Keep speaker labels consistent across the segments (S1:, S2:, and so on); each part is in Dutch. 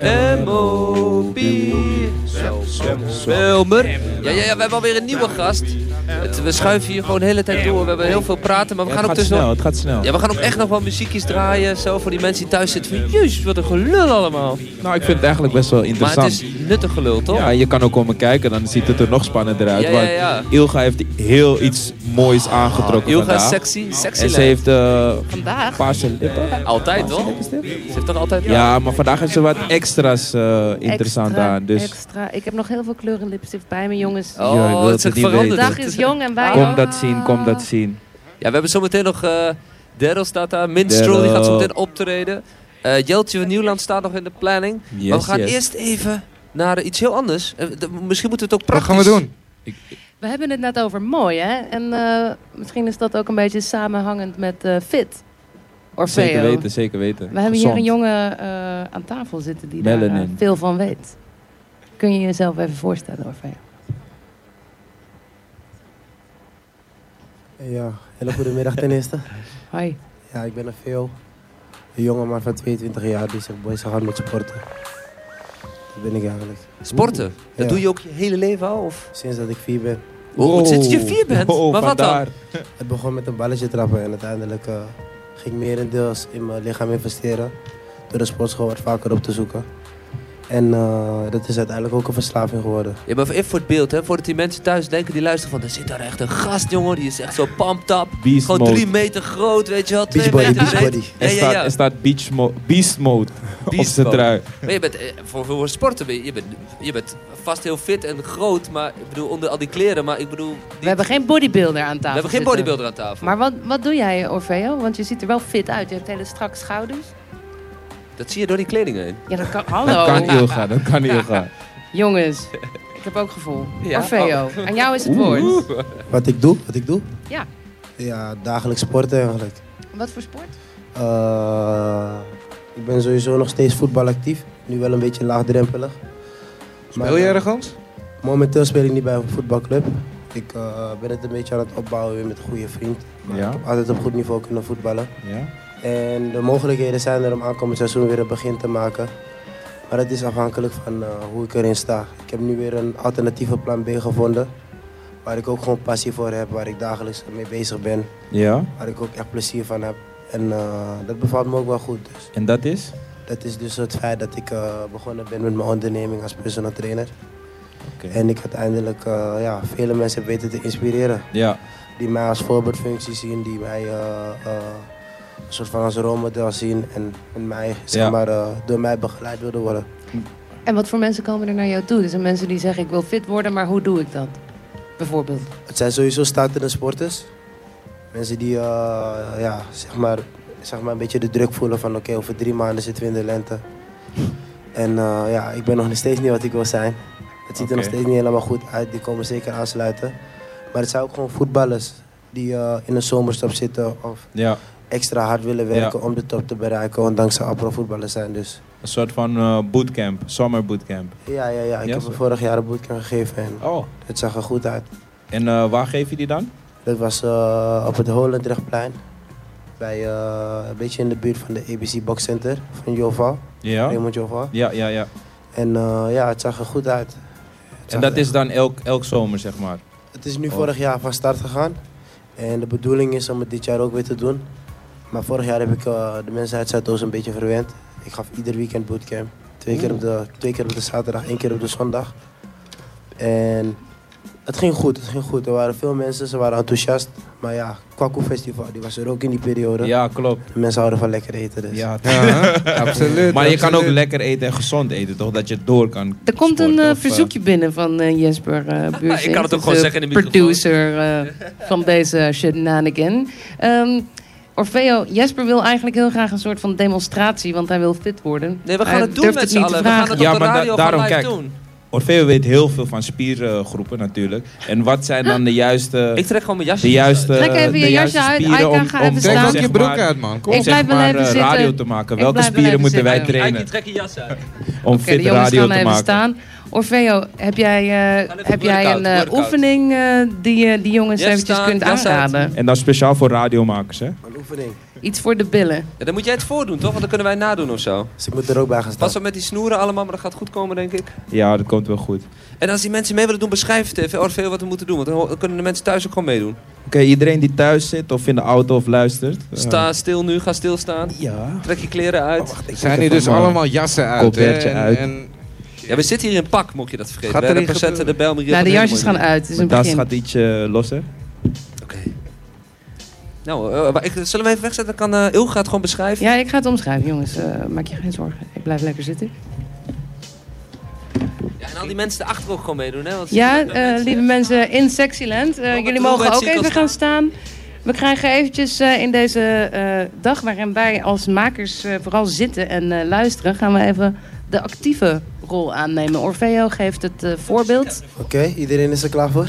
S1: M-O-B. M-O-B. Wilmer. Ja, ja, ja, we hebben alweer een nieuwe gast. Het- we schuiven hier gewoon de hele tijd door. We hebben heel veel praten, maar we gaan
S2: het
S1: ook
S2: gaat
S1: dus
S2: snel,
S1: nog...
S2: het gaat snel.
S1: Ja, we gaan ook echt nog wel muziekjes draaien. Zo voor die mensen die thuis zitten van... Jezus, wat een gelul allemaal.
S2: Nou, ik vind het eigenlijk best wel
S1: Maar
S2: interessant.
S1: het is nuttig gelul, toch?
S2: Ja, je kan ook komen kijken, dan ziet het er nog spannender uit.
S1: Ja, ja, ja.
S2: Want Ilga heeft heel iets moois aangetrokken
S1: Ilga is
S2: vandaag.
S1: sexy. Sexy
S2: En
S1: lijf.
S2: ze heeft eh
S3: Vandaag?
S2: paarse lippen.
S1: Altijd,
S2: Paarse
S1: toch?
S2: lippenstift.
S1: Ze heeft toch altijd...
S2: Ja, maar vandaag heeft ze wat extra's eh, interessant
S3: extra,
S2: aan. Dus
S3: Extra. Ik heb nog heel veel kleuren lipstift bij me, jongens.
S1: Oh,
S2: Ja, ik wil
S1: het
S2: het
S1: is ook
S2: niet
S1: veranderd.
S3: de
S2: weten.
S3: dag is jong en wij
S2: kom
S3: ook.
S2: dat zien, kom dat zien.
S1: Ja, we hebben zometeen nog... eh Daryl staat daar. Minstrel, die gaat
S2: Daryl.
S1: zometeen optreden. Eh Jeltje van Nieuwland staat nog in de planning. maar we
S2: Yes,
S1: gaan
S2: yes.
S1: eerst even naar eh, iets heel anders. Eh, d- misschien moeten we het ook
S4: Wat
S1: praktisch...
S4: gaan we doen?
S3: We hebben het net over mooi, hè? En eh, misschien is dat ook een beetje samenhangend met eh, fit. Orfeo.
S2: Zeker weten, zeker weten.
S3: We hebben
S2: Gezond.
S3: hier een jongen eh, aan tafel zitten die daar
S2: Melanin.
S3: eh, veel van weet. Kun je jezelf even voorstellen, Orfeo?
S5: Ja, hele goede middag ten eerste.
S3: Hoi.
S5: Ja, ik ben een veel. Een jonge man van 22 jaar dus die zich bezig houdt met sporten. Dat ben ik eigenlijk.
S1: Sporten. Dat
S5: Ja.
S1: doe je ook je hele leven al? Of?
S5: Sinds dat ik vier ben.
S1: Oh,
S2: Wow.
S1: sinds je vier bent?
S2: Wow,
S1: maar wat dan?
S2: Oh, vandaar.
S5: Het begon met een balletje trappen en uiteindelijk eh, ging ik merendeels in mijn lichaam investeren. Door de sportschool wat vaker op te zoeken. En eh, dat is uiteindelijk ook een verslaving geworden.
S1: Ja, maar even voor het beeld, hè, voordat die mensen thuis denken, die luisteren van, er zit daar echt een gast, jongen, die is echt zo pumped up.
S2: Beast
S1: Gewoon
S2: mode.
S1: drie meter groot, weet je wel, twee
S5: Beachbody,
S1: meter breed.
S5: beachbody.
S1: Ja,
S2: Er
S1: ja,
S2: staat,
S1: ja.
S2: er staat beach mo- beast mode op
S1: Beast
S2: zijn
S1: mode.
S2: trui.
S1: Maar je bent, eh, voor, voor sporten, ben je, je bent, je bent vast heel fit en groot, maar ik bedoel, onder al die kleren, maar ik bedoel... die-
S3: We hebben geen bodybuilder aan tafel.
S1: we hebben geen
S3: zitten.
S1: bodybuilder aan tafel.
S3: Maar wat, wat doe jij, Orfeo? Want je ziet er wel fit uit. Je hebt hele strakke schouders.
S1: Dat zie je door die kleding heen.
S3: Ja, dat kan.
S2: Dat
S3: Hallo.
S2: kan Ilga, dat kan Ilga.
S3: Jongens, ik heb ook gevoel.
S1: Ja.
S3: Orfeo, aan jou is het woord.
S5: Wat ik doe, wat ik doe?
S3: Ja.
S5: Ja, dagelijks sporten eigenlijk.
S3: Wat voor sport?
S5: Eh, ik ben sowieso nog steeds voetbalactief. Nu wel een beetje laagdrempelig.
S4: Speel je
S5: eh,
S4: ergens?
S5: Momenteel speel ik niet bij een voetbalclub. Ik eh, ben het een beetje aan het opbouwen weer met een goede vriend. Maar
S2: Ja.
S5: ik heb altijd op goed niveau kunnen voetballen.
S2: Ja?
S5: En de mogelijkheden zijn er om aankomend seizoen weer een begin te maken. Maar het is afhankelijk van eh, hoe ik erin sta. Ik heb nu weer een alternatieve plan B gevonden. Waar ik ook gewoon passie voor heb, waar ik dagelijks mee bezig ben.
S2: Ja,
S5: Waar ik ook echt plezier van heb. En eh, dat bevalt me ook wel goed. Dus.
S2: en dat is?
S5: Dat is dus het feit dat ik eh, begonnen ben met mijn onderneming als personal trainer.
S2: Oké.
S5: En ik uiteindelijk eh, ja, vele mensen heb weten te inspireren.
S2: Ja,
S5: Die mij als voorbeeldfunctie zien, die mij eh, eh, een soort van als rolmodel zien. En met mij, zeg
S2: Ja.
S5: maar, eh, door mij begeleid willen worden.
S3: En wat voor mensen komen er naar jou toe? Dus Er zijn mensen die zeggen, ik wil fit worden, maar hoe doe ik dat? Bijvoorbeeld.
S5: Het zijn sowieso startende sporters. Mensen die eh, ja, zeg maar, zeg maar een beetje de druk voelen van oké, over drie maanden zitten we in de lente. En eh, ja, ik ben nog steeds niet wat ik wil zijn. Het ziet er nog
S2: Oké.
S5: steeds niet helemaal goed uit, die komen zeker aansluiten. Maar het zijn ook gewoon voetballers die eh, in een zomerstop zitten of
S2: ja.
S5: extra hard willen werken om de top te bereiken, ondanks ze pro-voetballers zijn. Dus
S2: Een soort van eh, bootcamp, zomerbootcamp.
S5: ja, ja, ja ik
S2: Ja,
S5: heb
S2: zo.
S5: hem vorig jaar een bootcamp gegeven en
S2: Oh,
S5: het zag er goed uit.
S2: en eh, waar geef je die dan?
S5: Dat was eh, op het Holendrechtplein. Bij, eh, een beetje in de buurt van de ABC Box Center van Joval.
S2: Ja?
S5: Raymond Joval.
S2: Ja, ja, ja.
S5: En eh, ja, het zag er goed uit. Het
S2: En
S5: zag
S2: dat is dan elk, elk zomer, zeg maar.
S5: Het is nu
S2: Oh.
S5: vorig jaar van start gegaan. En de bedoeling is om het dit jaar ook weer te doen. Maar vorig jaar heb ik eh, de mensen uit Zuidoost een beetje verwend. Ik gaf ieder weekend bootcamp. Twee keer, op de, twee keer op de zaterdag, één keer op de zondag. En het ging goed, het ging goed. Er waren veel mensen, ze waren enthousiast. Maar ja, Kwaku Festival, die was er ook in die periode.
S2: Ja, klopt.
S5: De Mensen houden van lekker eten dus.
S2: Ja,
S4: Ja, hè? absoluut.
S2: Maar je kan ook
S4: absoluut.
S2: lekker eten en gezond eten, toch? Dat je door kan.
S3: Er komt een
S2: sporten
S3: eh,
S2: of, eh,
S3: verzoekje binnen van eh, Jesper eh Buurzin.
S1: Ik kan het ook
S3: de
S1: gewoon zeggen in de microfoon.
S3: producer eh, van deze shenanigan. Ehm Orfeo, Jesper wil eigenlijk heel graag een soort van demonstratie, want hij wil fit worden.
S1: Nee, we gaan
S3: Hij
S1: het doen
S3: durft
S1: met
S3: niet
S1: z'n
S3: te
S1: allen. We gaan
S3: vragen.
S1: het
S2: Ja,
S1: op de
S2: maar da-
S1: radio
S2: daarom,
S1: gewoon live
S2: kijk.
S1: doen.
S2: Orfeo weet heel veel van spiergroepen natuurlijk. En wat zijn dan de juiste.
S1: Ik trek gewoon mijn jasje.
S2: de juiste,
S3: Trek even
S2: de
S3: je
S2: juiste
S3: jasje uit,
S2: spieren
S3: Aika,
S2: om,
S3: ga
S2: om
S3: even
S2: om,
S3: staan.
S4: Trek ook
S2: zeg
S4: je
S2: maar,
S4: broek uit, man. Kom.
S2: om
S3: Ik
S2: zeg
S3: blijf wel
S2: maar
S3: even
S2: eh,
S3: zitten.
S2: radio te maken.
S3: Ik
S2: Welke
S3: blijf wel
S2: spieren
S3: even
S2: moeten wij
S3: zitten.
S2: trainen
S1: Aiki, trek je jas uit.
S2: om
S3: Oké,
S2: fit
S3: de jongens
S2: radio
S3: gaan
S2: te
S3: even
S2: maken?
S3: staan. Orfeo, heb jij, eh,
S1: Ga even
S3: heb jij een
S1: workout,
S3: eh,
S1: workout.
S3: oefening eh, die je die jongens
S1: Yes,
S3: eventjes
S1: staan,
S3: kunt
S1: jas uit.
S3: aanraden?
S2: En dan speciaal voor radiomakers, hè?
S5: Een oefening.
S3: Iets voor de billen.
S1: Ja, dan moet jij het voordoen, toch? Want dan kunnen wij nadoen of zo.
S5: Dus ik moet er ook bij gaan staan.
S1: Pas op met die snoeren allemaal, maar dat gaat goed komen, denk ik.
S2: Ja, dat komt wel goed. Oké,
S1: En als die mensen mee willen doen, beschrijf het even, Orfeo, wat we moeten doen. Want dan ho- dan kunnen de mensen thuis ook gewoon meedoen.
S2: iedereen die thuis zit of in de auto of luistert. eh,
S1: Sta stil nu, ga stilstaan.
S5: Ja.
S1: Trek je kleren uit.
S5: Wacht, ik
S4: Zijn
S5: moet
S4: hier
S5: even-
S2: dus
S4: dus
S2: allemaal
S4: allemaal jassen uit,
S2: Colbertje uit.
S4: En,
S1: Ja, we zitten hier in pak, mocht je dat vergeten.
S4: Gaat
S1: we
S4: er
S1: hebben
S4: iets
S1: patiënten de
S4: gebeuren?
S1: bel.
S3: Nou, de jasjes gaan uit. Het is een
S2: Mijn das
S3: begin.
S2: gaat iets eh, losser.
S1: Oké. Nou, eh, maar ik, zullen we even wegzetten? Dan kan eh Ilga het gewoon beschrijven.
S3: Ja, ik ga het omschrijven, jongens. Eh, maak je geen zorgen. Ik blijf lekker zitten.
S1: Ja, en al die mensen erachter ook gewoon meedoen, hè? Want
S3: Ja,
S1: dat
S3: eh,
S1: mensen-
S3: lieve mensen in Sexyland. eh,
S1: Robert
S3: jullie
S1: Robert
S3: mogen ook
S1: zie ik al
S3: even gaan staan. We krijgen eventjes eh, in deze eh, dag waarin wij als makers eh, vooral zitten en eh, luisteren... gaan we even de actieve rol aannemen. Orfeo geeft het eh, voorbeeld.
S5: Oké, iedereen is er klaar voor?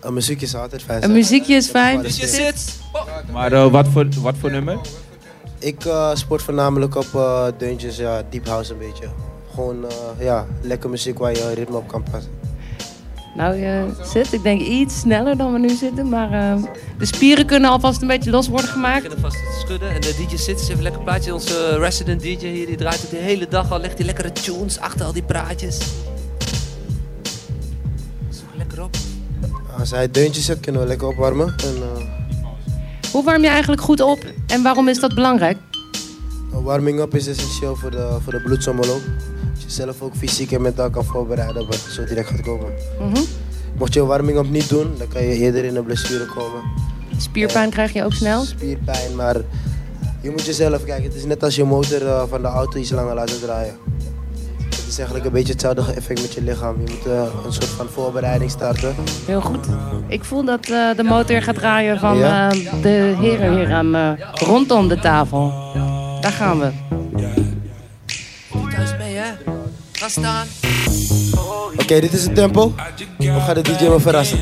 S5: Een muziekje is altijd fijn.
S3: Een
S5: zeg.
S3: muziekje is fijn.
S1: Dus je zit. Oh,
S2: Maar eh, wat, voor, wat voor nummer?
S5: Ik eh, sport voornamelijk op eh deuntjes, ja, deep house een beetje. Gewoon eh, ja, lekker muziek waar je ritme op kan passen.
S3: Nou, je zit, ik denk iets sneller dan we nu zitten. Maar eh, de spieren kunnen alvast een beetje los worden
S1: we
S3: gemaakt.
S1: beginnen vast te schudden. En de DJ zit is even lekker plaatje. Onze eh, resident DJ hier, die draait het de hele dag al. Legt die lekkere tunes achter al die praatjes. Zoek lekker op.
S5: Als hij deuntjes zet, kunnen we lekker opwarmen. En, eh,
S3: Hoe warm je eigenlijk goed op en waarom is dat belangrijk?
S5: een warming up is essentieel voor de, voor de bloedsomloop. Dat je zelf ook fysiek en mentaal kan voorbereiden op wat zo direct gaat komen.
S3: Mhm.
S5: Mocht je een warming up niet doen, dan kan je eerder in een blessure komen.
S3: Spierpijn krijg je ook snel.
S5: Spierpijn, maar je moet jezelf kijken. Het is net als je motor eh, van de auto iets langer laten draaien. Het is eigenlijk een beetje hetzelfde effect met je lichaam. Je moet eh, een soort van voorbereiding starten.
S3: Heel goed. Ik voel dat eh, de motor gaat draaien van
S5: Ja?
S3: eh, de heren hier aan, eh, rondom de tafel. Daar gaan we.
S1: Thuis mee, hè? Ga staan.
S5: Oké, dit is het tempo. We gaan de DJ maar verrassen.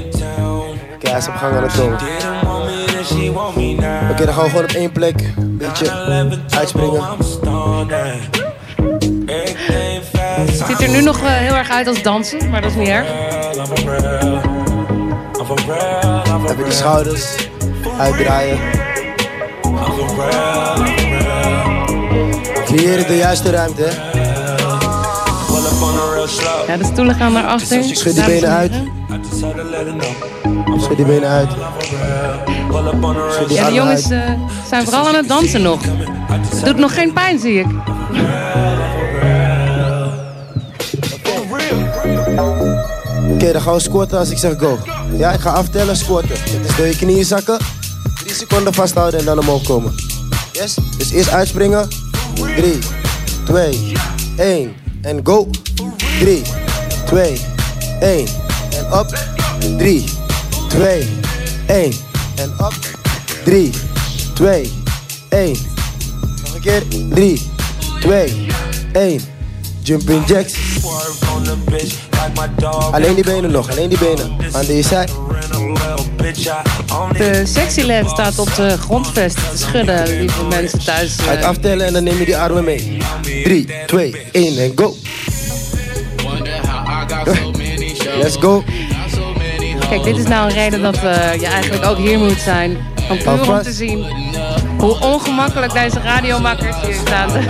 S5: Oké, hij is op gang aan het komen. Oké,
S6: Didn't want me, then she want me now.
S5: dan gaan we gewoon op één plek een beetje
S6: Uitspringen.
S5: uitspringen.
S3: Het ziet er nu nog eh, heel erg uit als dansen, maar dat is niet erg.
S5: Even die schouders uitdraaien. Creëren de juiste ruimte. hè.
S3: Ja, de stoelen gaan naar achter.
S5: Schud die benen uit. Schud die benen uit. Schud die
S3: Ja, de
S5: armen
S3: jongens
S5: uit.
S3: eh, zijn vooral aan het dansen nog. Het doet nog geen pijn, zie ik.
S5: Oké, dan gaan we squatten als ik zeg go. Ja, ik ga aftellen, squatten. Dus door je knieën zakken, 3 seconden vasthouden en dan omhoog komen. Yes? Dus eerst uitspringen. 3, 2, 1 en go. 3, 2, 1 en op. 3, 2, 1 en op. 3, 2, 1. Nog een keer. 3, 2, 1. Jumping jacks. Alleen die benen nog, alleen die benen. Aan de zij.
S3: De sexyland staat op de grondvest te schudden, lieve mensen thuis. eh.
S5: Ga ik aftellen en dan neem je die armen mee. 3, 2, 1 en go. Let's go.
S3: Kijk, dit is nou een reden dat eh, je eigenlijk ook hier moet zijn. Om puur om
S5: Alvast.
S3: te zien hoe ongemakkelijk deze radiomakers hier staan te,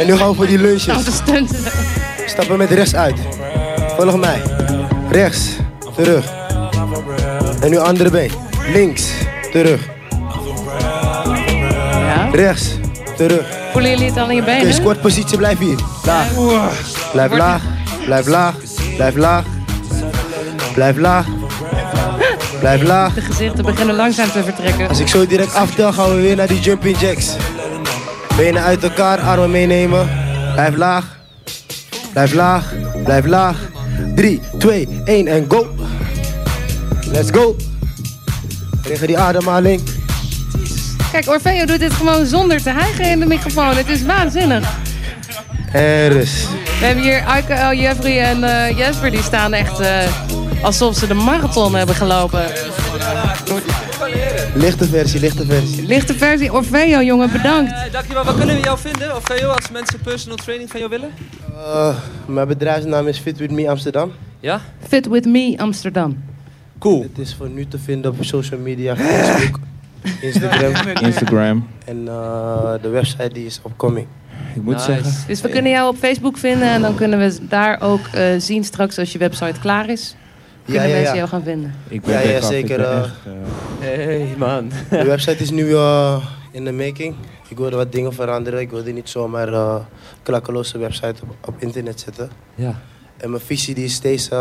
S5: En nu gaan we voor die
S3: staan
S5: lunches.
S3: te stunten.
S5: Stappen met rechts uit. Volg mij. Rechts, terug. En nu andere been. Links, terug.
S3: Ja.
S5: Rechts, terug.
S3: Voelen jullie het al in je
S5: Oké,
S3: benen?
S5: squat positie, blijf hier. Laag. Blijf
S3: Wordt-
S5: laag, blijf laag, blijf laag. Blijf laag. Blijf laag.
S3: De gezichten beginnen langzaam te vertrekken.
S5: Als ik zo direct aftel, gaan we weer naar die jumping jacks. Benen uit elkaar, armen meenemen. Blijf laag. Blijf laag. Blijf laag. 3, 2, 1 en go. Let's go. Regen die ademhaling.
S3: Kijk, Orfeo doet dit gewoon zonder te hijgen in de microfoon. Het is waanzinnig.
S5: En rust.
S3: We hebben hier Aike, El Jeffrey en eh, Jesper. Die staan echt eh, alsof ze de marathon hebben gelopen.
S5: Lichte versie, lichte versie.
S3: Lichte versie. Orfeo, jongen, bedankt.
S1: Eh, dankjewel. Waar kunnen we jou vinden? Of Theo, als mensen personal training van jou willen?
S5: Eh, mijn bedrijfsnaam is Fit With Me Amsterdam.
S1: Ja?
S3: Fit with me, Amsterdam.
S1: Cool.
S5: Het is voor nu te vinden op social media, Facebook, Instagram
S2: Instagram.
S5: en eh, de website die is opkoming.
S2: Ik moet
S1: Nice.
S2: zeggen.
S3: Dus we kunnen jou op Facebook vinden en dan kunnen we daar ook eh, zien straks als je website klaar is. Kunnen mensen jou gaan vinden.
S2: Ik ben
S5: Ja, ja,
S2: gek af. Ik
S5: zeker,
S2: ben
S5: eh,
S2: echt, eh,
S1: Hey man.
S5: De website is nu eh, in de making. Ik wilde wat dingen veranderen. Ik wilde niet zomaar eh klakkeloze website op, op internet zetten.
S1: Ja.
S5: En mijn visie die is steeds eh,